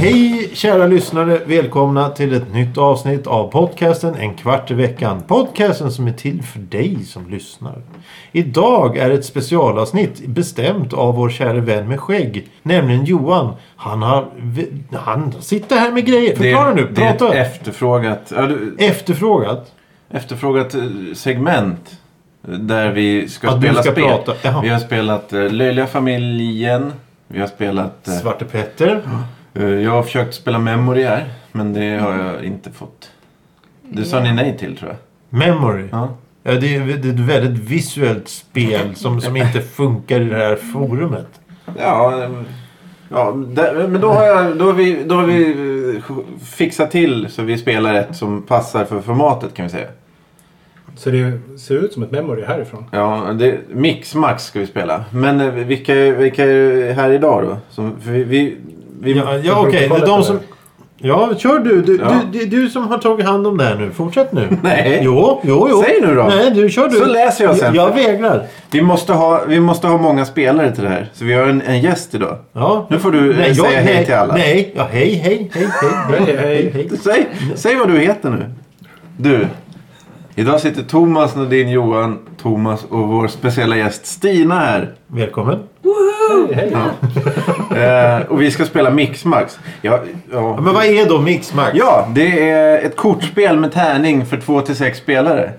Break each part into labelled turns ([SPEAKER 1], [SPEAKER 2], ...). [SPEAKER 1] Hej kära lyssnare! Välkomna till ett nytt avsnitt av podcasten En kvart i veckan. Podcasten som är till för dig som lyssnar. Idag är ett specialavsnitt bestämt av vår kära vän med skägg. Nämligen Johan. Han har... Han sitter här med grejer.
[SPEAKER 2] Det är-
[SPEAKER 1] Förklara nu.
[SPEAKER 2] Det är ett
[SPEAKER 1] Prata.
[SPEAKER 2] efterfrågat, ja, du-
[SPEAKER 1] Efterfrågat.
[SPEAKER 2] efterfrågat eh, segment. eh, Där vi ska
[SPEAKER 1] Att du
[SPEAKER 2] spela
[SPEAKER 1] ska
[SPEAKER 2] spel.
[SPEAKER 1] prata, jaha.
[SPEAKER 2] Vi har spelat eh, Löjliga familjen. Vi har spelat... eh,
[SPEAKER 1] Svarte Petter.
[SPEAKER 2] eh, jag har försökt spela Memory här. Men det har jag inte fått. Det sa ni nej till tror jag.
[SPEAKER 1] Memory.
[SPEAKER 2] Ja.
[SPEAKER 1] Ja, det är det är ett väldigt visuellt spel som, som inte funkar i det här forumet.
[SPEAKER 2] Ja, eh, ja där, men då har, jag, då, har vi, då har vi eh, fixat till så vi spelar ett som passar för formatet kan vi säga.
[SPEAKER 3] Så det ser ut som ett memory härifrån.
[SPEAKER 2] Ja, det, mix max ska vi spela. Men eh, vilka, vilka är här idag då? Som, för vi, vi, vi,
[SPEAKER 1] Ja, ja okej. Det är de
[SPEAKER 3] protokollet,
[SPEAKER 1] som... Ja, kör du. Du,
[SPEAKER 2] Ja.
[SPEAKER 1] du, du, du som har tagit hand om det här nu. Fortsätt nu.
[SPEAKER 2] Nej.
[SPEAKER 1] Jo, jo, jo.
[SPEAKER 2] Säg nu då.
[SPEAKER 1] Nej, du kör du.
[SPEAKER 2] Så läser jag sen.
[SPEAKER 1] Jag, jag vägrar.
[SPEAKER 2] vi, måste ha, vi måste ha många spelare till det här. Så vi har en, en gäst idag.
[SPEAKER 1] Ja.
[SPEAKER 2] Nu får du eh,
[SPEAKER 1] jag,
[SPEAKER 2] säga
[SPEAKER 1] nej,
[SPEAKER 2] hej till alla.
[SPEAKER 1] Nej, ja, hej, hej, hej, hej, hej,
[SPEAKER 3] Hej, hej.
[SPEAKER 1] hej, hej.
[SPEAKER 2] Säg, säg vad du heter nu. Du. Idag sitter Thomas, Nadine, Johan, Thomas och vår speciella gäst Stina här.
[SPEAKER 1] Välkommen.
[SPEAKER 4] Oh.
[SPEAKER 3] Hej, hej.
[SPEAKER 2] Eh, och vi ska spela Mix Max. Ja,
[SPEAKER 1] Ja,
[SPEAKER 2] ja.
[SPEAKER 1] men vad är då Mix Max?
[SPEAKER 2] ja, det är ett kortspel med tärning för två till sex spelare.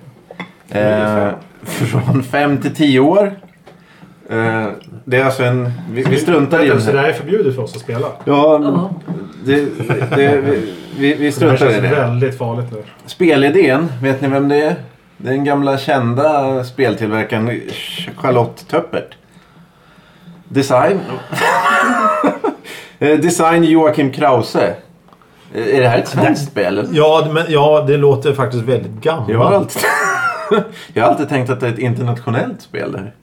[SPEAKER 2] Eh, från fem till tio år. Eh, det är alltså en... Vi, vi struntar i den
[SPEAKER 3] Så
[SPEAKER 2] här.
[SPEAKER 3] det här är förbjudet för oss att spela.
[SPEAKER 2] Ja, det, det, vi, vi, vi
[SPEAKER 3] Det här
[SPEAKER 2] struntar i
[SPEAKER 3] känns
[SPEAKER 2] det.
[SPEAKER 3] väldigt farligt nu.
[SPEAKER 2] Spelidén, vet ni vem det är? Den gamla kända speltillverkaren Charlotte Töppert. Design. Eh, Design Joakim Krause. Eh, Är det här ett svenskt spel? eller?
[SPEAKER 1] Ja, det- men, ja, det låter faktiskt väldigt gammalt.
[SPEAKER 2] Jag har alltid, jag har alltid tänkt att det är ett internationellt spel det här.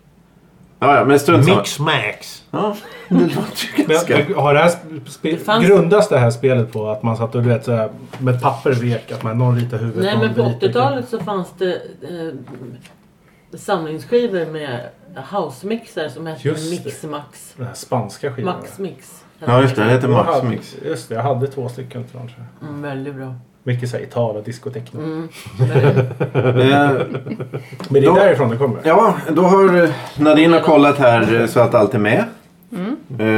[SPEAKER 2] Ja, ja, men strunt samma.
[SPEAKER 1] Mix Max.
[SPEAKER 2] Ja, det låter ju
[SPEAKER 3] Men
[SPEAKER 2] ganska...
[SPEAKER 3] har det här sp- spe-
[SPEAKER 4] fanns-
[SPEAKER 3] grundas det här spelet på att man satt och du vet, så här, med papper vek att man någon ritar huvudet?
[SPEAKER 4] Nej
[SPEAKER 3] någon
[SPEAKER 4] men på
[SPEAKER 3] ritar-
[SPEAKER 4] 80-talet så fanns det eh, samlingsskivor med housemixar som hette
[SPEAKER 3] Just det.
[SPEAKER 4] Mixmax.
[SPEAKER 3] Den här spanska skivan.
[SPEAKER 4] Maxmix.
[SPEAKER 2] Ja, just det. Det heter
[SPEAKER 3] Jag hade-
[SPEAKER 2] Maxmix.
[SPEAKER 3] Just det, jag hade två stycken från tror jag.
[SPEAKER 4] Mm, väldigt bra.
[SPEAKER 3] Mycket såhär Italo, discotek. nu.
[SPEAKER 4] Mm, väldigt.
[SPEAKER 2] Eh,
[SPEAKER 3] Men det är
[SPEAKER 2] Då-
[SPEAKER 3] därifrån det kommer.
[SPEAKER 2] Ja, då har Nadine har kollat här eh, så att allt är med.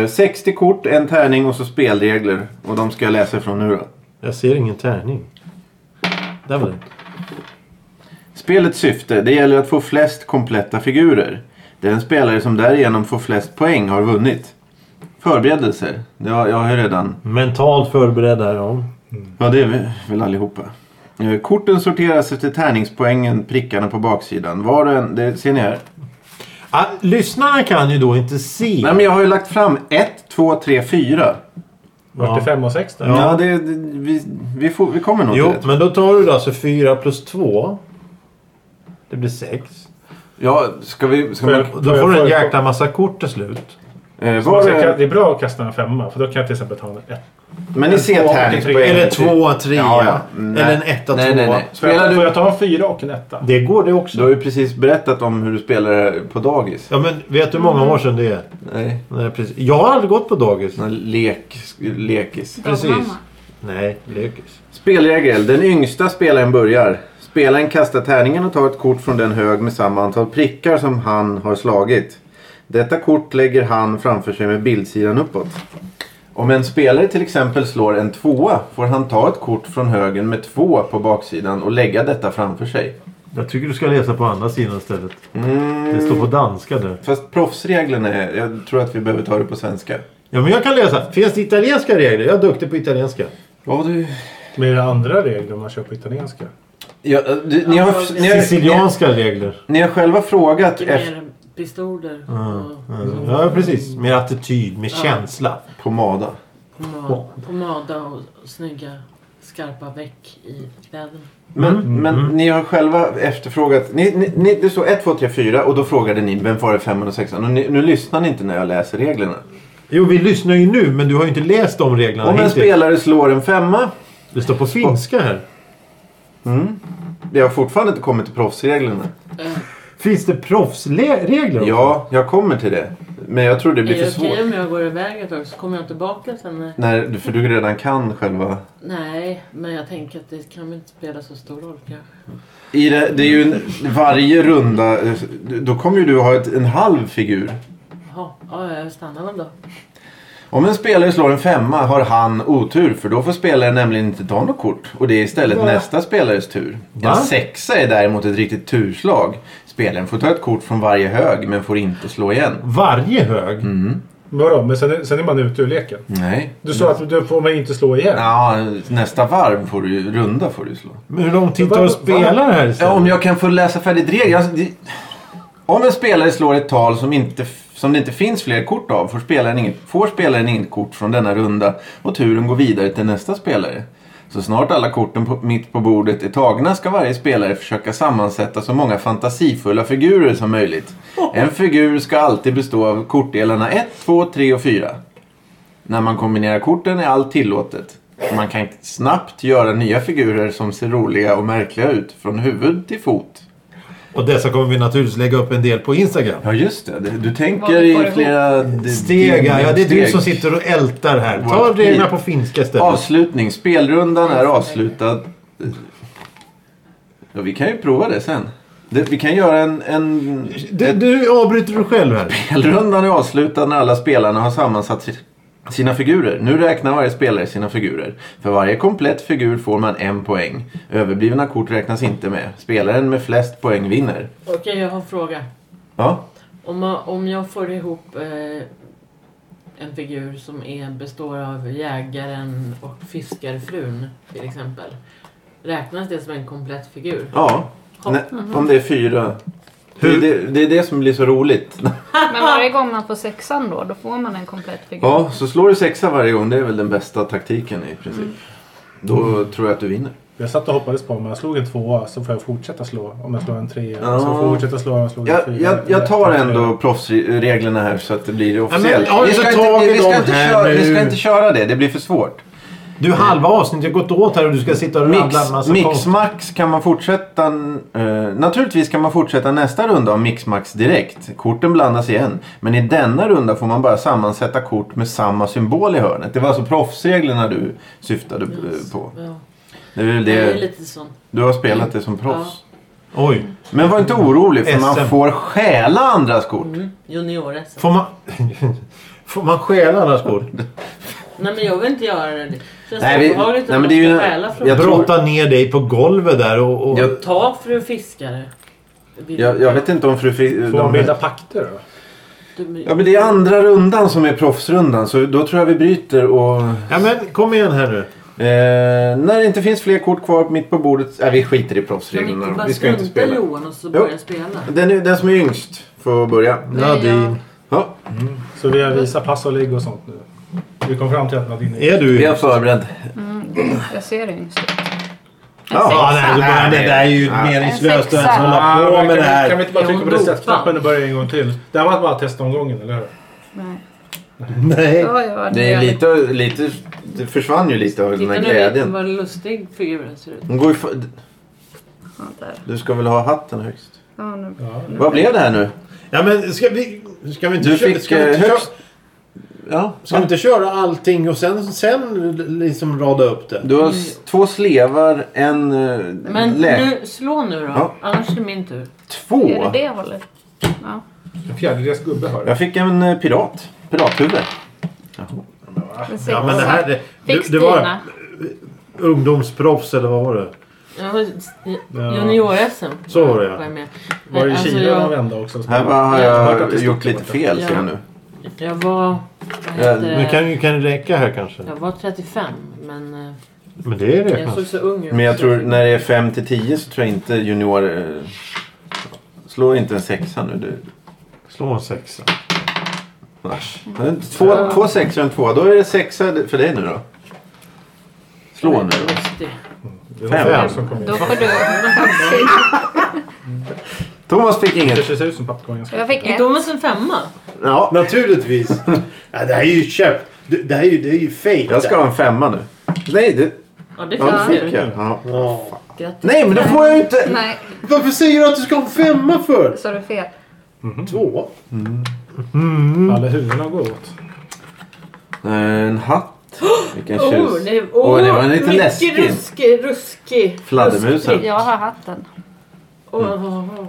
[SPEAKER 2] Eh, 60 kort, en tärning och så spelregler. Och de ska jag läsa från nu då.
[SPEAKER 1] Jag ser ingen tärning. Där var den.
[SPEAKER 2] Spelets syfte, det gäller att få flest kompletta figurer. Den spelare som därigenom får flest poäng har vunnit. Förberedelser, det har, jag har ju redan
[SPEAKER 1] Mentalt förberedd här. Ja.
[SPEAKER 2] Ja, det är vi väl allihopa. Eh, Korten sorteras efter tärningspoängen, prickarna på baksidan. Var och en, det ser ni här.
[SPEAKER 1] Ah, lyssnarna kan ju då inte se.
[SPEAKER 2] Nej, men jag har ju lagt fram 1, 2, 3, 4.
[SPEAKER 3] Vart det fem och sex där?
[SPEAKER 1] Ja.
[SPEAKER 2] Ja, det, det, vi, vi, får, vi kommer nog
[SPEAKER 1] Jo,
[SPEAKER 2] till det.
[SPEAKER 1] men då tar du alltså 4 plus 2. Det blir 6.
[SPEAKER 2] Ja, ska vi... Ska
[SPEAKER 3] Får
[SPEAKER 2] man,
[SPEAKER 1] Då
[SPEAKER 3] jag- Får
[SPEAKER 1] får du en
[SPEAKER 3] får-
[SPEAKER 1] jäkla massa kort till slut.
[SPEAKER 2] eh,
[SPEAKER 3] Så man
[SPEAKER 2] var
[SPEAKER 3] ska-
[SPEAKER 2] är,
[SPEAKER 3] Det är bra att kasta en femma för då kan jag till exempel ta en ett.
[SPEAKER 2] men ni ser
[SPEAKER 3] två-
[SPEAKER 2] tärningspoängen.
[SPEAKER 1] Eller 2, 3.
[SPEAKER 2] Ja, ja. Nej.
[SPEAKER 1] Eller en 1, 2.
[SPEAKER 2] Nej, nej, nej.
[SPEAKER 3] Får jag,
[SPEAKER 2] Spelar
[SPEAKER 3] får
[SPEAKER 2] du...
[SPEAKER 3] jag ta en fyra och en etta?
[SPEAKER 1] Det går det
[SPEAKER 2] Du
[SPEAKER 1] också.
[SPEAKER 2] har ju precis berättat om hur du spelar på dagis.
[SPEAKER 1] Ja, men vet du hur många år sedan det är?
[SPEAKER 2] Nej.
[SPEAKER 1] Nej, precis. Jag har aldrig gått på dagis.
[SPEAKER 2] Sån här Lek, lekis.
[SPEAKER 1] Precis. Nej, lekis.
[SPEAKER 2] Spelregel. Den yngsta spelaren börjar. Spelaren kastar tärningen och tar ett kort från den hög med samma antal prickar som han har slagit. Detta kort lägger han framför sig med bildsidan uppåt. Om en spelare till exempel slår en tvåa får han ta ett kort från högen med två på baksidan och lägga detta framför sig.
[SPEAKER 1] Jag tycker du ska läsa på andra sidan istället.
[SPEAKER 2] Mm.
[SPEAKER 1] Det står på danska där.
[SPEAKER 2] Fast proffsreglerna är... Jag tror att vi behöver ta det på svenska.
[SPEAKER 1] Ja, men jag kan läsa. Finns det italienska regler? Jag är duktig på italienska.
[SPEAKER 2] Ja, du...
[SPEAKER 3] Men är det andra regler om man kör på italienska?
[SPEAKER 2] Ja, du ni, har, ni, har,
[SPEAKER 1] Sicilianska regler.
[SPEAKER 2] ni har själva frågat
[SPEAKER 4] Mycket
[SPEAKER 2] efter...
[SPEAKER 4] mer pistoler och
[SPEAKER 1] Mm. Ja, precis. Med attityd, med känsla.
[SPEAKER 2] Pomada.
[SPEAKER 4] pomad, pomada och snygga skarpa veck i kläderna.
[SPEAKER 2] Men, men ni har själva efterfrågat. Ni, ni, ni, det står 1, 2, 3, 4 och då frågade ni vem var det 5 och 6 och ni, Nu lyssnar ni inte när jag läser reglerna.
[SPEAKER 1] Jo, vi lyssnar ju nu, men du har ju inte läst de reglerna
[SPEAKER 2] Om en
[SPEAKER 1] hittills.
[SPEAKER 2] spelare slår en femma.
[SPEAKER 1] Det står på finska här.
[SPEAKER 2] Det har fortfarande inte kommit till proffsreglerna.
[SPEAKER 4] Eh,
[SPEAKER 1] Finns det proffsregler? också?
[SPEAKER 2] Ja, jag kommer till det. Men jag tror det
[SPEAKER 4] Är
[SPEAKER 2] blir för
[SPEAKER 4] det Eh, okej
[SPEAKER 2] svårt.
[SPEAKER 4] om jag går iväg ett tag så kommer jag tillbaka sen? när-
[SPEAKER 2] När, för du redan kan själva...
[SPEAKER 4] Nej, men jag tänker att det kan väl inte spela så stor roll kanske.
[SPEAKER 2] I det, det är ju en, varje runda... eh, Då kommer ju du ha ett, en halv figur.
[SPEAKER 4] Jaha, ja, jag stannar väl då.
[SPEAKER 2] Om en spelare slår en femma har han otur för då får spelaren nämligen inte ta något kort. Och det är istället nästa spelares tur.
[SPEAKER 1] Va?
[SPEAKER 2] En sexa är däremot ett riktigt turslag. Spelaren får ta ett kort från varje hög men får inte slå igen.
[SPEAKER 1] Varje hög?
[SPEAKER 2] Mm.
[SPEAKER 3] Men vadå? Men sen, är- sen är man ute ur leken.
[SPEAKER 2] Nej.
[SPEAKER 3] Du sa att du får man inte slå igen.
[SPEAKER 2] Mm. Ja, nästa varv får du ju- runda får du slå.
[SPEAKER 1] Men hur lång tid tar det att
[SPEAKER 3] Vad-
[SPEAKER 1] spela det här
[SPEAKER 2] Ja,
[SPEAKER 1] istället?
[SPEAKER 2] om jag kan få läsa färdigt regler. Alltså, det... Om en spelare slår ett tal som, inte, f- som det inte finns fler kort av får spelaren, inget, får spelaren inget kort från denna runda och turen går vidare till nästa spelare. Så snart alla korten på, mitt på bordet är tagna ska varje spelare försöka sammansätta så många fantasifulla figurer som möjligt. En figur ska alltid bestå av kortdelarna 1, 2, 3 och 4. När man kombinerar korten är allt tillåtet. Man kan snabbt göra nya figurer som ser roliga och märkliga ut från huvud till fot.
[SPEAKER 1] Och dessa kommer vi naturligtvis lägga upp en del på Instagram.
[SPEAKER 2] Ja, just det. Du tänker
[SPEAKER 4] Vad vi får
[SPEAKER 2] i
[SPEAKER 4] ihop.
[SPEAKER 2] flera... d-
[SPEAKER 1] Steg, ja. ja, Det är du
[SPEAKER 2] steg.
[SPEAKER 1] som sitter och ältar här. Ta
[SPEAKER 2] Vårt
[SPEAKER 1] reglerna
[SPEAKER 2] liv.
[SPEAKER 1] på finska istället.
[SPEAKER 2] Avslutning. Spelrundan är avslutad. Ja, vi kan ju prova det sen. Det, vi kan göra en... en
[SPEAKER 1] Du, du avbryter du själv här.
[SPEAKER 2] Spelrundan är avslutad när alla spelarna har sammansatt si- sina figurer. Nu räknar varje spelare sina figurer. För varje komplett figur får man en poäng. Överblivna kort räknas inte med. Spelaren med flest poäng vinner.
[SPEAKER 4] Okej, jag har en fråga.
[SPEAKER 2] Ja,
[SPEAKER 4] Om, man- om jag får ihop eh, en figur som är, består av jägaren och fiskarfrun till exempel. Räknas det som en komplett figur?
[SPEAKER 2] ja. Nej, om det är fyra. Det är det, det är det som blir så roligt.
[SPEAKER 5] Men varje gång man får sexan då, då får man en komplett figur.
[SPEAKER 2] Ja, så slår du sexa varje gång. Det är väl den bästa taktiken i princip. Då tror jag att du vinner.
[SPEAKER 3] Jag satt och hoppades på om jag slog en tvåa så får jag fortsätta slå. Om jag slår en trea
[SPEAKER 2] Ja.
[SPEAKER 3] så får jag fortsätta slå om jag slår en
[SPEAKER 2] Jag,
[SPEAKER 1] Mm.
[SPEAKER 3] fyra.
[SPEAKER 2] jag, jag tar
[SPEAKER 3] Eller-
[SPEAKER 2] ändå proffsreglerna här så att det blir
[SPEAKER 1] men
[SPEAKER 2] officiellt.
[SPEAKER 1] har
[SPEAKER 2] vi,
[SPEAKER 1] inte
[SPEAKER 2] ska
[SPEAKER 1] tagit
[SPEAKER 2] inte, vi, ska
[SPEAKER 1] dem
[SPEAKER 2] inte
[SPEAKER 1] här
[SPEAKER 2] köra, vi
[SPEAKER 1] nu.
[SPEAKER 2] ska inte köra det, det blir för svårt.
[SPEAKER 1] Du, halva avsnittet har gått åt här och du ska sitta och rabbla en
[SPEAKER 2] Mix,
[SPEAKER 1] massa
[SPEAKER 2] mix
[SPEAKER 1] konst.
[SPEAKER 2] Max kan man fortsätta... eh, naturligtvis kan man fortsätta nästa runda av Mix Max direkt. Korten blandas igen. Men i denna runda får man bara sammansätta kort med samma symbol i hörnet. Det var alltså proffsreglerna du syftade eh, på.
[SPEAKER 4] Ja.
[SPEAKER 2] Det är väl
[SPEAKER 4] Det är
[SPEAKER 2] det,
[SPEAKER 4] lite sånt.
[SPEAKER 2] du har spelat det som proffs.
[SPEAKER 1] Oj.
[SPEAKER 2] Men var inte orolig för
[SPEAKER 1] SM.
[SPEAKER 2] man får stjäla andras kort.
[SPEAKER 4] Mm. Junior-SM.
[SPEAKER 1] Får man... Får man stjäla annars kort?
[SPEAKER 4] Nej men jag vill inte göra det. Det känns
[SPEAKER 2] Nej, vi-
[SPEAKER 4] obehagligt att
[SPEAKER 2] nej, men
[SPEAKER 4] man
[SPEAKER 2] det är ju-
[SPEAKER 4] ska stjäla från
[SPEAKER 2] jag tror-
[SPEAKER 1] Brotta ner dig på golvet där och... och...
[SPEAKER 2] Jag-
[SPEAKER 4] Ta fru fiskare.
[SPEAKER 2] Jag, jag vet inte om fru... Fi-
[SPEAKER 3] Får man
[SPEAKER 2] de-
[SPEAKER 3] bilda pakter då?
[SPEAKER 4] Du,
[SPEAKER 2] Ja, men det är andra rundan som är proffsrundan så då tror jag vi bryter och...
[SPEAKER 1] Ja men kom igen här nu.
[SPEAKER 2] Eh, när det inte finns fler kort kvar mitt på bordet... Nej, vi skiter i
[SPEAKER 4] Kan vi inte
[SPEAKER 2] proffsreglerna.
[SPEAKER 4] bara
[SPEAKER 2] Vi ska inte
[SPEAKER 4] strunta i
[SPEAKER 2] spela.
[SPEAKER 4] Johan och så börja
[SPEAKER 2] Jo.
[SPEAKER 4] spela?
[SPEAKER 2] Den, är, den som är yngst får börja.
[SPEAKER 1] Nadine.
[SPEAKER 2] Ja,
[SPEAKER 3] Så vi har visat pass och ligg och sånt nu. Vi kom fram till att Nadine
[SPEAKER 1] Är du...
[SPEAKER 2] vi har förberett.
[SPEAKER 5] Jag ser yngst ut.
[SPEAKER 1] Ja, nej, du börjar, det där är ju meningslöst att ens
[SPEAKER 3] Ah,
[SPEAKER 1] hålla på
[SPEAKER 3] men
[SPEAKER 1] med det
[SPEAKER 3] kan, vi- kan vi
[SPEAKER 1] här.
[SPEAKER 3] inte bara
[SPEAKER 4] Är
[SPEAKER 3] trycka på
[SPEAKER 4] hon
[SPEAKER 3] resetknappen och börja en gång till? Det här var bara testomgången, eller hur?
[SPEAKER 5] Nej.
[SPEAKER 1] Nej.
[SPEAKER 5] Ja, ja,
[SPEAKER 2] Det, är
[SPEAKER 5] gör
[SPEAKER 2] lite, lite... Det försvann ju lite av den
[SPEAKER 4] Titta
[SPEAKER 2] här
[SPEAKER 4] nu
[SPEAKER 2] glädjen.
[SPEAKER 4] vad lustig figuren ser ut.
[SPEAKER 2] Hon går ju för...
[SPEAKER 5] Ja, där.
[SPEAKER 2] Du ska väl ha hatten högst?
[SPEAKER 5] Ja, nu.
[SPEAKER 3] Ja.
[SPEAKER 2] Vad blev det här nu?
[SPEAKER 1] Ja men ska vi... Ska vi inte,
[SPEAKER 2] Du
[SPEAKER 1] köra-
[SPEAKER 2] fick
[SPEAKER 1] ska vi
[SPEAKER 2] eh,
[SPEAKER 1] inte, köra,
[SPEAKER 2] högst... Ja,
[SPEAKER 1] ska vi inte köra allting och sen, sen liksom rada upp det?
[SPEAKER 2] Du har s- två slevar, en eh,
[SPEAKER 4] Men
[SPEAKER 2] lä...
[SPEAKER 4] nu, slå nu då.
[SPEAKER 2] Ja.
[SPEAKER 4] Annars är det min tur.
[SPEAKER 5] Är
[SPEAKER 2] Två?
[SPEAKER 5] det det hållet? Ja.
[SPEAKER 3] En fjärdedels gubbe har
[SPEAKER 2] Jag fick en eh, pirat. Pirathuvud.
[SPEAKER 5] En sexa.
[SPEAKER 1] Ja men det här... Det,
[SPEAKER 5] Fick
[SPEAKER 1] det, det var
[SPEAKER 5] Stina.
[SPEAKER 1] ungdomsproffs eller vad var det?
[SPEAKER 4] Jag har junior-SM.
[SPEAKER 1] Så var det, ja.
[SPEAKER 4] Var jag, med.
[SPEAKER 3] Var det
[SPEAKER 4] Nej, alltså,
[SPEAKER 3] Kina någon
[SPEAKER 4] jag,
[SPEAKER 3] vända också?
[SPEAKER 2] Här var, har
[SPEAKER 4] Jag
[SPEAKER 3] har hört att
[SPEAKER 2] jag
[SPEAKER 3] det
[SPEAKER 2] gjort
[SPEAKER 3] sticker
[SPEAKER 2] lite
[SPEAKER 3] borta.
[SPEAKER 2] fel
[SPEAKER 4] Ja.
[SPEAKER 2] ser jag nu.
[SPEAKER 4] jag var... Vad heter
[SPEAKER 2] Ja,
[SPEAKER 1] Nu
[SPEAKER 4] det?
[SPEAKER 1] kan, kan det räcka här kanske.
[SPEAKER 4] Jag var 35 men eh,
[SPEAKER 1] Men det är det
[SPEAKER 4] jag
[SPEAKER 1] kanske.
[SPEAKER 4] såg så ung ut.
[SPEAKER 2] Men jag
[SPEAKER 4] så
[SPEAKER 2] tror
[SPEAKER 4] fick-
[SPEAKER 2] när det är 5 till 10 så tror jag inte junior... eh, Slå inte en sexa nu. Du.
[SPEAKER 1] Slå en sexa.
[SPEAKER 2] Asch. Men Två, två sexor och en tvåa. Då är det sexa för dig nu då. Slå nu då.
[SPEAKER 4] Lustig.
[SPEAKER 3] Det var fem
[SPEAKER 2] Fem.
[SPEAKER 3] som kom in.
[SPEAKER 5] Då får du...
[SPEAKER 2] Thomas fick
[SPEAKER 3] Det
[SPEAKER 2] inget.
[SPEAKER 3] ser ut som pappkorgen.
[SPEAKER 5] Jag fick ett.
[SPEAKER 4] Thomas en femma.
[SPEAKER 2] Ja,
[SPEAKER 6] Naturligtvis. Ja, det här är ju köpt. Det det här är ju, det är ju fejk.
[SPEAKER 2] jag ska ha en femma nu. Nej, det,
[SPEAKER 4] Ja, det
[SPEAKER 2] ja, det
[SPEAKER 4] fick
[SPEAKER 2] fick
[SPEAKER 4] du.
[SPEAKER 2] jag. Ja.
[SPEAKER 6] Ja.
[SPEAKER 4] Grattis.
[SPEAKER 2] Nej, men då får jag ju inte...
[SPEAKER 5] Nej,
[SPEAKER 6] Varför säger du att du ska ha en femma för?
[SPEAKER 5] sa du fel?
[SPEAKER 2] Mm.
[SPEAKER 6] Två.
[SPEAKER 3] Alla huvudena går åt.
[SPEAKER 2] Eh, En hatt. Vilken tjus.
[SPEAKER 4] Oh, det, oh,
[SPEAKER 2] Åh, det var en lite
[SPEAKER 4] mycket
[SPEAKER 2] läskig.
[SPEAKER 4] ruskig, ruskig.
[SPEAKER 2] Fladdermusen.
[SPEAKER 5] Jag har hatten.
[SPEAKER 4] Åh,
[SPEAKER 1] Mm.
[SPEAKER 4] åh, åh.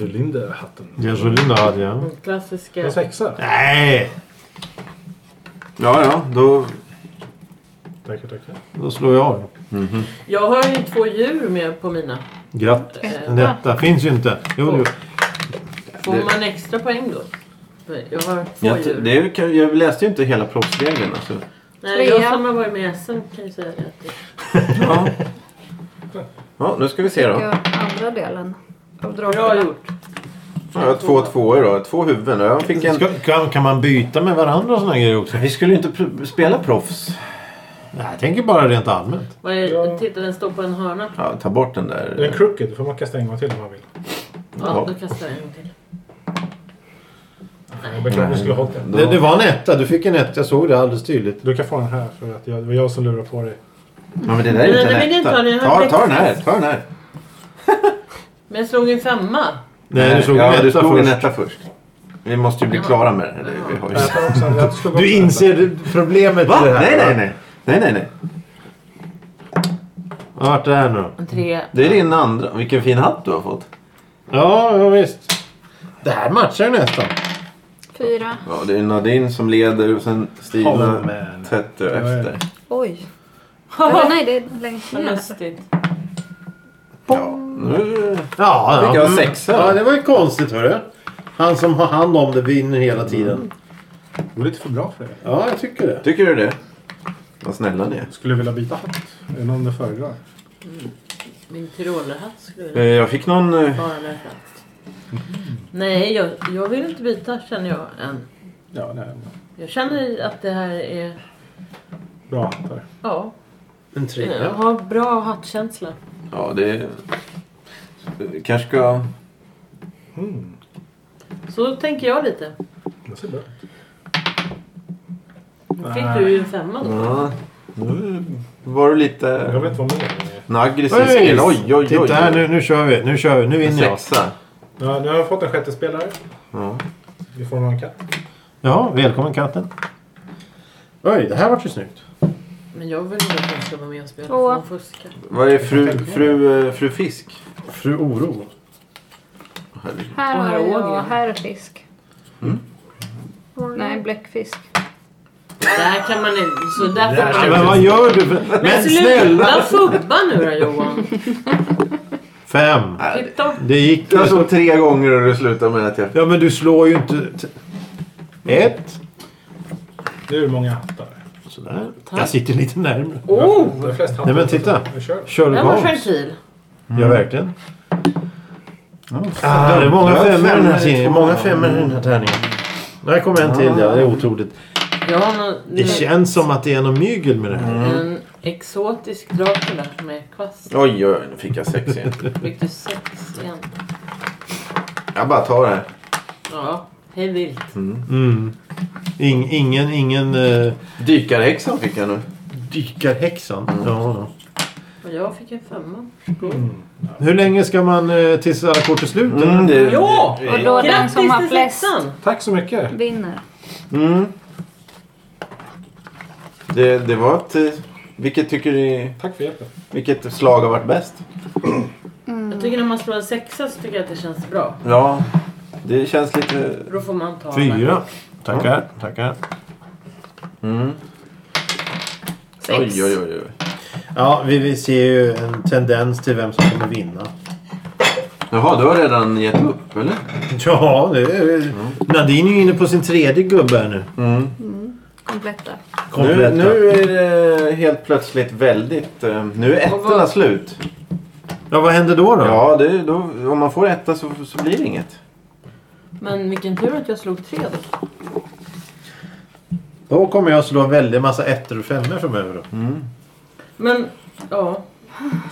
[SPEAKER 3] Cylinderhatten.
[SPEAKER 1] Jag så Linda hade jag.
[SPEAKER 4] Den klassiska.
[SPEAKER 3] En sexa.
[SPEAKER 1] Nej!
[SPEAKER 2] Ja, ja, då...
[SPEAKER 3] Tackar, tackar.
[SPEAKER 1] Då slår jag av.
[SPEAKER 4] Jag har ju två djur med på mina.
[SPEAKER 1] Grattis.
[SPEAKER 4] Eh,
[SPEAKER 1] Detta finns ju inte. Jo, jo.
[SPEAKER 4] Får
[SPEAKER 2] Det-
[SPEAKER 4] man extra poäng då? Jag har två
[SPEAKER 2] Jag,
[SPEAKER 4] djur.
[SPEAKER 2] det är, ju kan- jag läste ju inte hela proffsregeln. Alltså.
[SPEAKER 4] Nej, jag
[SPEAKER 5] Trea.
[SPEAKER 4] som har varit med i SM kan ju säga det. att det-
[SPEAKER 2] Ja. ja, nu ska vi se då.
[SPEAKER 5] Jag andra delen av
[SPEAKER 4] Bra
[SPEAKER 5] drakarna.
[SPEAKER 4] gjort.
[SPEAKER 2] Ja, jag har två tvåor då. Två huvuden. och Jag fick en...
[SPEAKER 1] Ska, kan, kan man byta med varandra och såna här grejer också?
[SPEAKER 2] Vi skulle ju inte pr- spela proffs.
[SPEAKER 1] Nej, jag tänker bara rent allmänt.
[SPEAKER 4] Vad är,
[SPEAKER 3] Ja.
[SPEAKER 4] Titta, den står på en hörna.
[SPEAKER 2] Ja, ta bort den
[SPEAKER 3] Det är en
[SPEAKER 2] där.
[SPEAKER 3] crooked. Då får man kasta en gång till om man vill.
[SPEAKER 4] Ja, då kastar jag en till.
[SPEAKER 3] Jag beklagar att du skulle ha hållit den.
[SPEAKER 1] Det, det var en etta. Du fick en etta. Jag såg det alldeles tydligt.
[SPEAKER 3] Du kan få den här för att jag, det var jag som lurade på dig.
[SPEAKER 2] Ja, men det där är ju
[SPEAKER 4] Nej,
[SPEAKER 2] inte
[SPEAKER 4] det vill
[SPEAKER 2] en
[SPEAKER 4] inte ha, det
[SPEAKER 2] etta.
[SPEAKER 4] har
[SPEAKER 2] Ta, ta den här.
[SPEAKER 4] växt.
[SPEAKER 2] Ta den här.
[SPEAKER 4] Men jag slog en femma.
[SPEAKER 1] Nej, du såg
[SPEAKER 2] ja,
[SPEAKER 1] en
[SPEAKER 2] du
[SPEAKER 1] etta
[SPEAKER 2] slog en
[SPEAKER 1] först.
[SPEAKER 2] etta först. Vi måste ju bli klara med det här. Det- Vi har ju...
[SPEAKER 3] Jag tar också en- jag slog också
[SPEAKER 1] Du
[SPEAKER 3] en etta.
[SPEAKER 1] inser problemet
[SPEAKER 2] Va?
[SPEAKER 1] i det här.
[SPEAKER 2] Nej,
[SPEAKER 1] va?
[SPEAKER 2] nej, nej. Nej, nej, nej.
[SPEAKER 1] Vad vart det här nu då?
[SPEAKER 4] En tre.
[SPEAKER 2] Det är din andra. Vilken fin hatt du har fått.
[SPEAKER 1] Ja, ja visst. Det här matchar ju nästan.
[SPEAKER 5] Fyra.
[SPEAKER 2] Ja, det är Nadine som leder och sen Stina
[SPEAKER 1] Oh, man.
[SPEAKER 2] tätt efter.
[SPEAKER 5] Oj. Eller nej, det är längst
[SPEAKER 4] Vad
[SPEAKER 5] ner.
[SPEAKER 4] lustigt.
[SPEAKER 2] Ja, nu...
[SPEAKER 1] Ja,
[SPEAKER 2] Fick jag
[SPEAKER 1] Mm.
[SPEAKER 2] sexa?
[SPEAKER 1] Ja, det var ju konstigt hörru. Han som har hand om det vinner hela tiden.
[SPEAKER 3] Det går lite för bra för dig.
[SPEAKER 1] Ja, jag tycker det.
[SPEAKER 2] Tycker du det? Vad snälla ni är.
[SPEAKER 3] Skulle du vilja byta hatt? Är det någon du föredrar?
[SPEAKER 4] Min tyrolerhatt skulle jag
[SPEAKER 2] Eh, Jag fick någon... eh,
[SPEAKER 4] bara därför att. Nej, jag, jag vill inte byta känner jag än.
[SPEAKER 3] Ja, nej. men
[SPEAKER 4] Jag känner att det här är...
[SPEAKER 3] Bra hattar.
[SPEAKER 4] Ja,
[SPEAKER 1] En
[SPEAKER 4] jag
[SPEAKER 1] trea.
[SPEAKER 4] har bra hattkänsla.
[SPEAKER 2] Ja, det... Kanske ska...
[SPEAKER 3] Mm,
[SPEAKER 4] Så tänker jag lite.
[SPEAKER 3] det ser bra ut.
[SPEAKER 4] Nu fick du ju en femma då.
[SPEAKER 2] Ja, nu var du
[SPEAKER 3] Jag
[SPEAKER 2] lite...
[SPEAKER 3] vet vad mer.
[SPEAKER 2] En aggressiv
[SPEAKER 1] Oj,
[SPEAKER 2] spel. Oj, oj, oj.
[SPEAKER 1] Titta här nu, nu kör vi. Nu kör vi. Nu vinner jag.
[SPEAKER 2] Sexa.
[SPEAKER 3] Ja, nu har jag fått en sjätte spelare.
[SPEAKER 2] Ja.
[SPEAKER 3] Vi får någon katt.
[SPEAKER 1] Ja, välkommen katten. Oj, det här vart ju snyggt.
[SPEAKER 4] Men jag vill inte att hon ska vara med och spela.
[SPEAKER 5] Två.
[SPEAKER 4] Hon fuskar.
[SPEAKER 2] Vad är fru, fru, eh, fru Fisk?
[SPEAKER 1] Fru Oro.
[SPEAKER 2] Herregud.
[SPEAKER 5] Här
[SPEAKER 4] Och här
[SPEAKER 5] har jag
[SPEAKER 4] ågen.
[SPEAKER 5] herrfisk.
[SPEAKER 2] Mm.
[SPEAKER 5] Nej, bläckfisk.
[SPEAKER 4] Där kan man inte... Så där får man
[SPEAKER 1] Men
[SPEAKER 4] inte.
[SPEAKER 1] vad gör du? för- Men snälla!
[SPEAKER 4] sluta fubba nu då Johan.
[SPEAKER 1] Fem.
[SPEAKER 4] Titta upp.
[SPEAKER 1] Det gick ju.
[SPEAKER 2] Jag såg tre gånger och det slutade med att jag...
[SPEAKER 1] Ja, men du slår ju inte... t- Ett.
[SPEAKER 3] Det är hur många hattar.
[SPEAKER 1] Sådär.
[SPEAKER 4] Tack.
[SPEAKER 1] Jag sitter lite närmare.
[SPEAKER 4] Oh!
[SPEAKER 3] Det är flest hattar.
[SPEAKER 1] Nej, men titta.
[SPEAKER 3] Nu kör vi.
[SPEAKER 1] Sherlock
[SPEAKER 4] Den var
[SPEAKER 1] Holmes.
[SPEAKER 4] gentil.
[SPEAKER 1] Ja, verkligen. Ah, det är många
[SPEAKER 2] Jag
[SPEAKER 1] femmor i den här
[SPEAKER 2] fem-
[SPEAKER 1] tidningen. Många femmor i den här tärningen. Där kommer en till, ja. Det är otroligt.
[SPEAKER 4] Jag har nå-
[SPEAKER 1] Det Mm. känns som att det är något mygel med det här.
[SPEAKER 4] en exotisk Dracula med kvast.
[SPEAKER 2] Oj, oj, oj. Nu fick jag sex igen.
[SPEAKER 4] Fick du sex igen?
[SPEAKER 2] Jag bara tar det här.
[SPEAKER 4] Ja, hej vilt.
[SPEAKER 1] Mm. Ing, ingen ingen uh,
[SPEAKER 2] Dykarhäxan fick jag nu.
[SPEAKER 1] dykarhäxan. Ja,
[SPEAKER 4] Och jag fick en femma.
[SPEAKER 1] ja. Hur länge ska man eh, tills alla kort är slut?
[SPEAKER 2] Mm, det,
[SPEAKER 4] Ja!
[SPEAKER 5] Och då den som har
[SPEAKER 4] Grattis till
[SPEAKER 5] flest
[SPEAKER 4] sexan!
[SPEAKER 3] Tack så mycket.
[SPEAKER 5] vinner.
[SPEAKER 2] Mm. Det, det var ett... eh, Vilket tycker ni...
[SPEAKER 3] Tack för hjälpen.
[SPEAKER 2] Vilket slag har varit bäst?
[SPEAKER 5] Mm.
[SPEAKER 4] Jag tycker när man slår en sexa så tycker jag att det känns bra.
[SPEAKER 2] Ja, det känns lite...
[SPEAKER 4] Då får man ta
[SPEAKER 1] Fyra. Tackar, tackar.
[SPEAKER 2] Mm.
[SPEAKER 5] Sex.
[SPEAKER 2] Oj, oj, oj. oj.
[SPEAKER 1] Ja, vi, vi ser ju en tendens till vem som kommer vinna.
[SPEAKER 2] Jaha, du har redan gett upp, eller?
[SPEAKER 1] Ja, det är, Nadine är ju inne på sin tredje gubbe här nu.
[SPEAKER 2] Mm.
[SPEAKER 5] Kompletta.
[SPEAKER 2] Nu,
[SPEAKER 1] Kompletta.
[SPEAKER 2] nu är det helt plötsligt väldigt... eh, Nu är
[SPEAKER 4] Och vad-
[SPEAKER 2] ettorna slut.
[SPEAKER 1] Ja, vad händer då då?
[SPEAKER 2] Ja, det, då, om man får etta så, så blir det inget.
[SPEAKER 4] Men vilken tur att jag slog tre då.
[SPEAKER 1] Då kommer jag slå en väldig massa ettor och femmor framöver. Då.
[SPEAKER 4] Men, ja.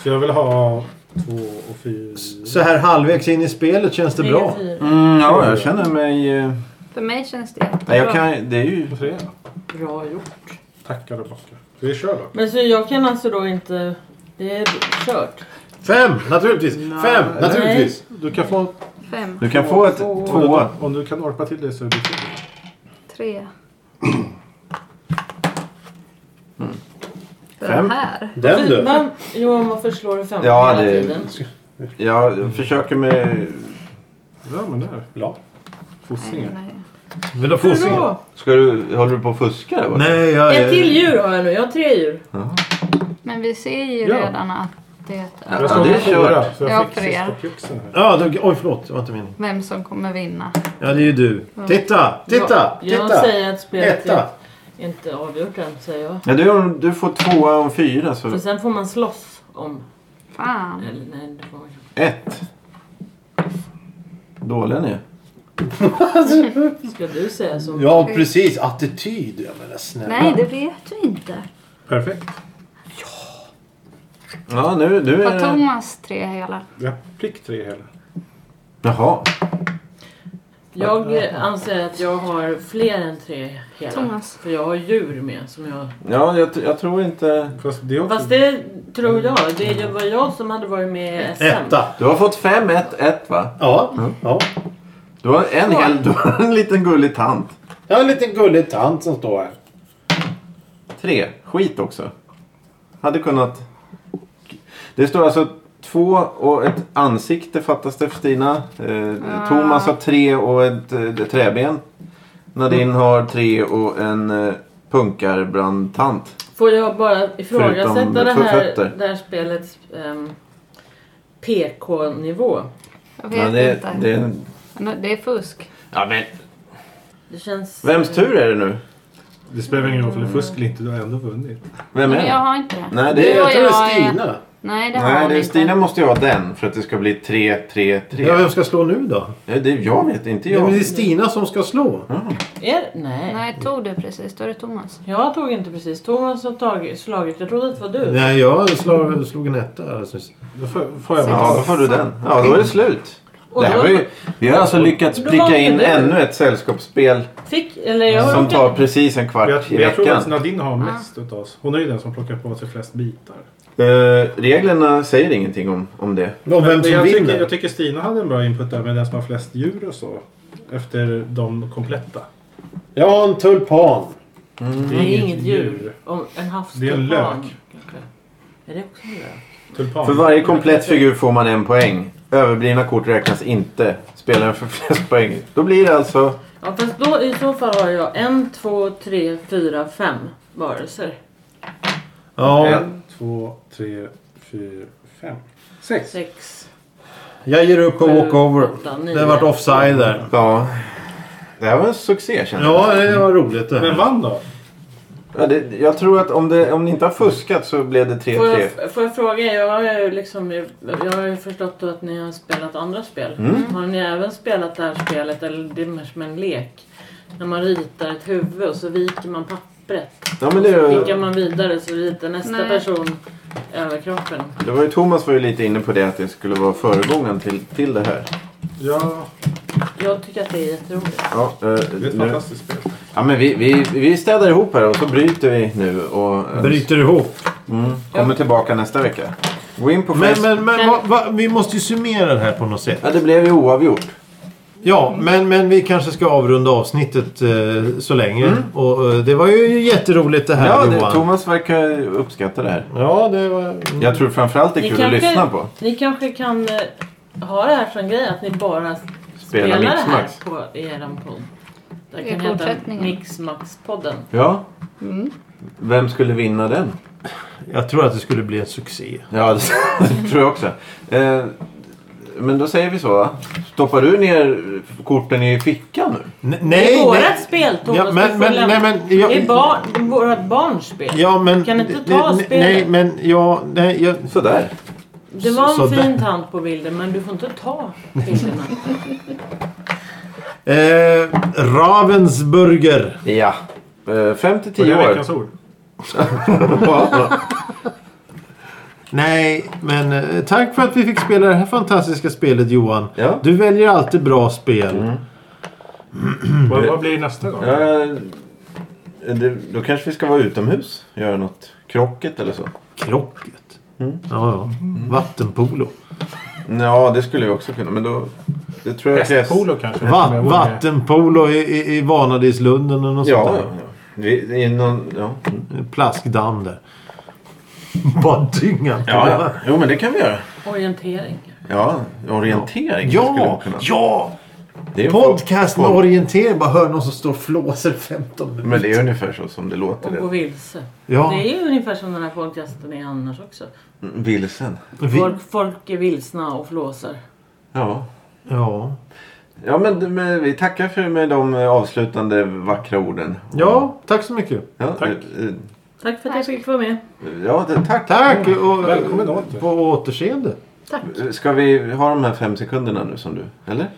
[SPEAKER 3] Så jag vill ha
[SPEAKER 6] två och fyra.
[SPEAKER 1] Så här halvvägs in i spelet känns det bra.
[SPEAKER 4] Negativ.
[SPEAKER 2] Mm, ja, jag känner mig... eh,
[SPEAKER 5] För mig känns det jättebra.
[SPEAKER 2] Nej, jag kan, det är ju...
[SPEAKER 3] Vad säger jag?
[SPEAKER 4] Bra gjort.
[SPEAKER 3] Tackar och bockar. Vi kör då.
[SPEAKER 4] Men så jag kan alltså då inte... Det är kört.
[SPEAKER 6] Fem! Naturligtvis! Fem! Naturligtvis!
[SPEAKER 3] Du kan få...
[SPEAKER 5] Fem,
[SPEAKER 2] Du kan få ett tvåa.
[SPEAKER 3] Om du kan orpa till det så är det kul.
[SPEAKER 5] tre. För
[SPEAKER 2] Fem.
[SPEAKER 5] Den här.
[SPEAKER 6] Den du!
[SPEAKER 4] Fyran, Johan, varför slår du femman
[SPEAKER 2] Ja,
[SPEAKER 4] hela
[SPEAKER 2] det-
[SPEAKER 4] tiden?
[SPEAKER 2] Jag försöker med...
[SPEAKER 3] Ja, men där.
[SPEAKER 6] Bra.
[SPEAKER 5] Nej,
[SPEAKER 3] Fossinge.
[SPEAKER 5] nej.
[SPEAKER 1] Vill du ha fossingar?
[SPEAKER 4] Bra.
[SPEAKER 2] Ska du... Håller du på att fuska? eller vad?
[SPEAKER 1] Nej, jag...
[SPEAKER 4] Ett till djur har jag nu. Jag har tre djur.
[SPEAKER 5] Men vi ser ju
[SPEAKER 3] Ja.
[SPEAKER 5] redan att det är
[SPEAKER 3] Jag står
[SPEAKER 2] Ja, det
[SPEAKER 3] på
[SPEAKER 2] är
[SPEAKER 3] fyra,
[SPEAKER 2] kört.
[SPEAKER 3] så jag
[SPEAKER 5] Ja,
[SPEAKER 3] fick
[SPEAKER 5] för er.
[SPEAKER 3] sista pjuxen här.
[SPEAKER 1] Ja, du... Oj, förlåt. Det var inte meningen.
[SPEAKER 5] vem som kommer vinna.
[SPEAKER 1] Ja, det är ju du. Titta! Titta!
[SPEAKER 4] Jag, jag
[SPEAKER 1] Titta!
[SPEAKER 4] säger att spelet
[SPEAKER 1] Etta.
[SPEAKER 4] är inte avgjort än, säger jag.
[SPEAKER 2] Ja, du, du får tvåa om fyra, så...
[SPEAKER 4] För sen får man slåss om...
[SPEAKER 5] Fan.
[SPEAKER 4] Eller nej, det får man inte.
[SPEAKER 2] Ett. Dåliga ni är.
[SPEAKER 4] Ska du säga så?
[SPEAKER 6] Ja, precis. Attityd. Jag menar snälla.
[SPEAKER 5] Nej, det vet du inte.
[SPEAKER 3] Perfekt.
[SPEAKER 2] Ja, nu, nu är
[SPEAKER 5] Har
[SPEAKER 2] det...
[SPEAKER 5] Thomas tre hela?
[SPEAKER 3] Jag fick tre hela.
[SPEAKER 2] Jaha.
[SPEAKER 4] Jag eh, anser att jag har fler än tre hela.
[SPEAKER 5] Thomas.
[SPEAKER 4] För jag har djur med som jag...
[SPEAKER 2] Ja, jag, jag tror inte...
[SPEAKER 3] Fast det är också...
[SPEAKER 4] Fast det tror jag. Det är ju- var jag som hade varit med i SM.
[SPEAKER 6] Etta.
[SPEAKER 2] Du har fått fem, ett, ett va?
[SPEAKER 6] Ja. ja.
[SPEAKER 2] Du har en hel... Du har en liten gullig tant.
[SPEAKER 6] Jag har en liten gullig tant som står här.
[SPEAKER 2] Tre. Skit också. Hade kunnat... Det står alltså två och ett ansikte fattas det för Stina. Eh,
[SPEAKER 5] Ah.
[SPEAKER 2] Thomas har tre och ett eh, träben. Nadine
[SPEAKER 5] Mm.
[SPEAKER 2] har tre och en eh, punkarbrandtant.
[SPEAKER 4] Får jag bara
[SPEAKER 2] Förutom
[SPEAKER 4] ifrågasätta det här,
[SPEAKER 2] fötter.
[SPEAKER 4] det här spelets ehm, PK-nivå?
[SPEAKER 5] Jag
[SPEAKER 2] Ja,
[SPEAKER 5] vet
[SPEAKER 2] det,
[SPEAKER 5] inte.
[SPEAKER 2] det,
[SPEAKER 5] Men det är fusk.
[SPEAKER 2] ja, men...
[SPEAKER 4] Det känns...
[SPEAKER 2] Vems tur är det nu?
[SPEAKER 3] Det spelar ingen roll för det är fusk eller inte. Du har ändå vunnit.
[SPEAKER 2] Vem är
[SPEAKER 5] Men jag
[SPEAKER 2] det?
[SPEAKER 5] har inte det.
[SPEAKER 2] Nej,
[SPEAKER 6] Det,
[SPEAKER 2] det är...
[SPEAKER 5] och
[SPEAKER 6] jag tror det är
[SPEAKER 5] jag är-
[SPEAKER 6] Stina.
[SPEAKER 5] Nej, det har
[SPEAKER 2] Nej,
[SPEAKER 5] han
[SPEAKER 2] det är,
[SPEAKER 5] inte.
[SPEAKER 2] Stina måste ju ha den för att det ska bli tre, tre, tre.
[SPEAKER 1] Ja, vem ska slå nu då?
[SPEAKER 2] Ja, det, jag vet inte
[SPEAKER 1] Ja. men det är
[SPEAKER 2] jag.
[SPEAKER 1] Stina som ska slå.
[SPEAKER 4] Är, nej.
[SPEAKER 5] Nej, tog du precis. Då är det Thomas.
[SPEAKER 4] Jag tog inte precis. Thomas har tagit, slagit. Jag trodde att det var du.
[SPEAKER 1] Nej, jag slog, slog en etta. här, syns det.
[SPEAKER 3] Då får, får jag
[SPEAKER 2] Ja,
[SPEAKER 3] väl
[SPEAKER 2] då får du den. Ja, då är det slut.
[SPEAKER 4] Och
[SPEAKER 2] Det här
[SPEAKER 4] då
[SPEAKER 2] var ju, vi har alltså lyckats
[SPEAKER 4] Då var
[SPEAKER 2] pricka
[SPEAKER 4] det
[SPEAKER 2] in
[SPEAKER 4] du.
[SPEAKER 2] ännu ett sällskapsspel
[SPEAKER 4] fick... Eller jag
[SPEAKER 2] som
[SPEAKER 4] råkade-
[SPEAKER 2] tar precis en
[SPEAKER 3] Jag,
[SPEAKER 2] kvart i
[SPEAKER 3] jag tror att
[SPEAKER 2] veckan.
[SPEAKER 3] Nadine har mest utav oss. Hon är ju den som plockar på sig flest bitar.
[SPEAKER 2] Eh, reglerna säger ingenting om, om det.
[SPEAKER 1] Och vem
[SPEAKER 3] Men
[SPEAKER 1] som
[SPEAKER 3] jag, tycker,
[SPEAKER 1] vinner.
[SPEAKER 3] jag tycker Stina hade en bra input där med den som har flest djur och så. Efter de kompletta.
[SPEAKER 6] Jag har en tulpan.
[SPEAKER 4] Det är inget djur. Om, en havstulpan.
[SPEAKER 3] Det är en lök.
[SPEAKER 4] kanske. Är det också en lök?
[SPEAKER 3] Tulpan.
[SPEAKER 2] För varje komplett figur får man en poäng. Överblivna kort räknas inte. Spelaren får flest poäng. Då blir det alltså...
[SPEAKER 4] Ja fast då i så fall har jag en, två, tre, fyra, fem varelser.
[SPEAKER 1] Ja,
[SPEAKER 2] En.
[SPEAKER 3] Två, tre, fyra, fem. Sex.
[SPEAKER 4] Sex.
[SPEAKER 1] jag ger upp på
[SPEAKER 4] Sju,
[SPEAKER 1] walkover.
[SPEAKER 4] åtta, nio.
[SPEAKER 1] Det har varit offside där.
[SPEAKER 2] Ja. Det här var en succé känner jag.
[SPEAKER 1] Ja, det var roligt det
[SPEAKER 3] Vem
[SPEAKER 1] här.
[SPEAKER 3] vann då?
[SPEAKER 2] Ja, det, jag tror att om, det, om ni inte har fuskat så blev det
[SPEAKER 4] Får
[SPEAKER 2] 3-3.
[SPEAKER 4] jag, får jag fråga, jag har, ju liksom, jag har ju förstått då att ni har spelat andra spel. Har ni även spelat det här spelet, eller det är mer som en lek? När man ritar ett huvud och så viker man pappret.
[SPEAKER 2] Ja, men det, är ju-
[SPEAKER 4] Klickar man vidare så ritar nästa
[SPEAKER 5] Nej.
[SPEAKER 4] person överkroppen.
[SPEAKER 2] det var ju Thomas var ju lite inne på det att det skulle vara föregången till, till det här.
[SPEAKER 3] Ja,
[SPEAKER 4] Jag tycker att det är jätteroligt.
[SPEAKER 2] Ja, eh,
[SPEAKER 3] det är ett
[SPEAKER 2] nu,
[SPEAKER 3] fantastiskt spel.
[SPEAKER 2] Ja, men vi, vi, vi städar ihop här och så bryter vi nu och eh,
[SPEAKER 1] Bryter ihop.
[SPEAKER 2] mm, kommer tillbaka nästa vecka. Gå in på
[SPEAKER 1] Men,
[SPEAKER 2] Facebook.
[SPEAKER 1] men, men va, va, vi måste ju summera det här på något sätt.
[SPEAKER 2] Ja, det blev ju oavgjort.
[SPEAKER 1] Ja, men, men vi kanske ska avrunda avsnittet eh, så länge.
[SPEAKER 4] Mm.
[SPEAKER 1] Och, eh, det var ju jätteroligt det här
[SPEAKER 2] Ja, det,
[SPEAKER 1] Johan.
[SPEAKER 2] Thomas verkar uppskatta det här.
[SPEAKER 1] Ja, det var...
[SPEAKER 2] Jag tror framförallt det är kul att lyssna på.
[SPEAKER 4] ni kanske kan eh, ha det här som grej att ni
[SPEAKER 2] Spela
[SPEAKER 4] bara spelar det här
[SPEAKER 2] Mixmax.
[SPEAKER 4] på er podd. Det
[SPEAKER 5] I
[SPEAKER 4] kan heta
[SPEAKER 5] fortsättningen.
[SPEAKER 4] Mixmax-podden.
[SPEAKER 2] Ja.
[SPEAKER 4] Mm.
[SPEAKER 2] Vem skulle vinna den?
[SPEAKER 1] Jag tror att det skulle bli en succé.
[SPEAKER 2] Ja, det, det tror jag också. Eh, men då säger vi så. va? Stoppar du ner korten i fickan nu?
[SPEAKER 1] N-
[SPEAKER 4] Det är
[SPEAKER 1] nej,
[SPEAKER 4] vårat
[SPEAKER 1] nej.
[SPEAKER 4] spel Thomas.
[SPEAKER 1] Ja, men-
[SPEAKER 4] Du får
[SPEAKER 1] men-
[SPEAKER 4] lämna-
[SPEAKER 1] nej, men jag-
[SPEAKER 4] Det är barn, vårat barns spel.
[SPEAKER 1] Ja, men...
[SPEAKER 4] Kan inte ta
[SPEAKER 1] nej,
[SPEAKER 4] spelet.
[SPEAKER 1] Nej, men ja, nej, jag...
[SPEAKER 2] Sådär.
[SPEAKER 4] det var en
[SPEAKER 1] så- så
[SPEAKER 4] fin tant på bilden men du får inte ta bilderna.
[SPEAKER 1] Eh, Ravensburger.
[SPEAKER 2] Ja. Eh, fem till
[SPEAKER 3] Det
[SPEAKER 2] tio
[SPEAKER 3] är
[SPEAKER 2] år.
[SPEAKER 3] veckans ord.
[SPEAKER 1] Nej, men eh, tack för att vi fick spela det här fantastiska spelet Johan.
[SPEAKER 2] Ja.
[SPEAKER 1] Du väljer alltid bra spel.
[SPEAKER 4] Mm.
[SPEAKER 3] Vad, vad blir nästa gång?
[SPEAKER 2] Ja, eh, det, då kanske vi ska vara utomhus. Göra något krocket eller så.
[SPEAKER 1] Krocket. Ja, ja. Vattenpolo.
[SPEAKER 2] Ja, det skulle jag också kunna. Men då... Det tror jag krävs...
[SPEAKER 3] Hästpolo kanske?
[SPEAKER 1] Va-
[SPEAKER 3] Som jag var med.
[SPEAKER 1] vattenpolo i, i, i Vanadislunden och något
[SPEAKER 2] Ja,
[SPEAKER 1] sånt
[SPEAKER 2] ja.
[SPEAKER 1] där.
[SPEAKER 2] ja. Vi, det är någon, ja.
[SPEAKER 1] Plaskdamm där. Bara dynga på.
[SPEAKER 2] Ja, ja. Jo, men det kan vi göra.
[SPEAKER 4] Orientering.
[SPEAKER 2] Ja, orientering skulle man
[SPEAKER 1] Ja,
[SPEAKER 2] kunna.
[SPEAKER 1] ja!
[SPEAKER 2] Det är
[SPEAKER 1] Podcast med
[SPEAKER 2] folk-
[SPEAKER 1] orientering. Bara hör någon som står och flåser 15 minuter.
[SPEAKER 2] Men det är ungefär så som det låter.
[SPEAKER 4] Och gå
[SPEAKER 2] Det.
[SPEAKER 4] vilse.
[SPEAKER 1] Ja,
[SPEAKER 4] Det är ju ungefär som den här podcasten är annars också.
[SPEAKER 2] Mm, Vilsen.
[SPEAKER 1] vi,
[SPEAKER 4] Folk, folk är vilsna och flåsar.
[SPEAKER 2] Ja.
[SPEAKER 1] ja.
[SPEAKER 2] Ja, men, men vi tackar för med de eh, avslutande vackra orden.
[SPEAKER 1] ja, tack så mycket.
[SPEAKER 2] Ja,
[SPEAKER 3] Tack.
[SPEAKER 2] eh, eh,
[SPEAKER 4] Tack för att
[SPEAKER 5] Tack.
[SPEAKER 4] jag fick vara med.
[SPEAKER 2] Ja, det, tack.
[SPEAKER 1] Tack! Och,
[SPEAKER 3] Välkommen åter.
[SPEAKER 1] På återseende.
[SPEAKER 5] Tack.
[SPEAKER 2] Ska vi ha de här fem sekunderna nu som du... Eller?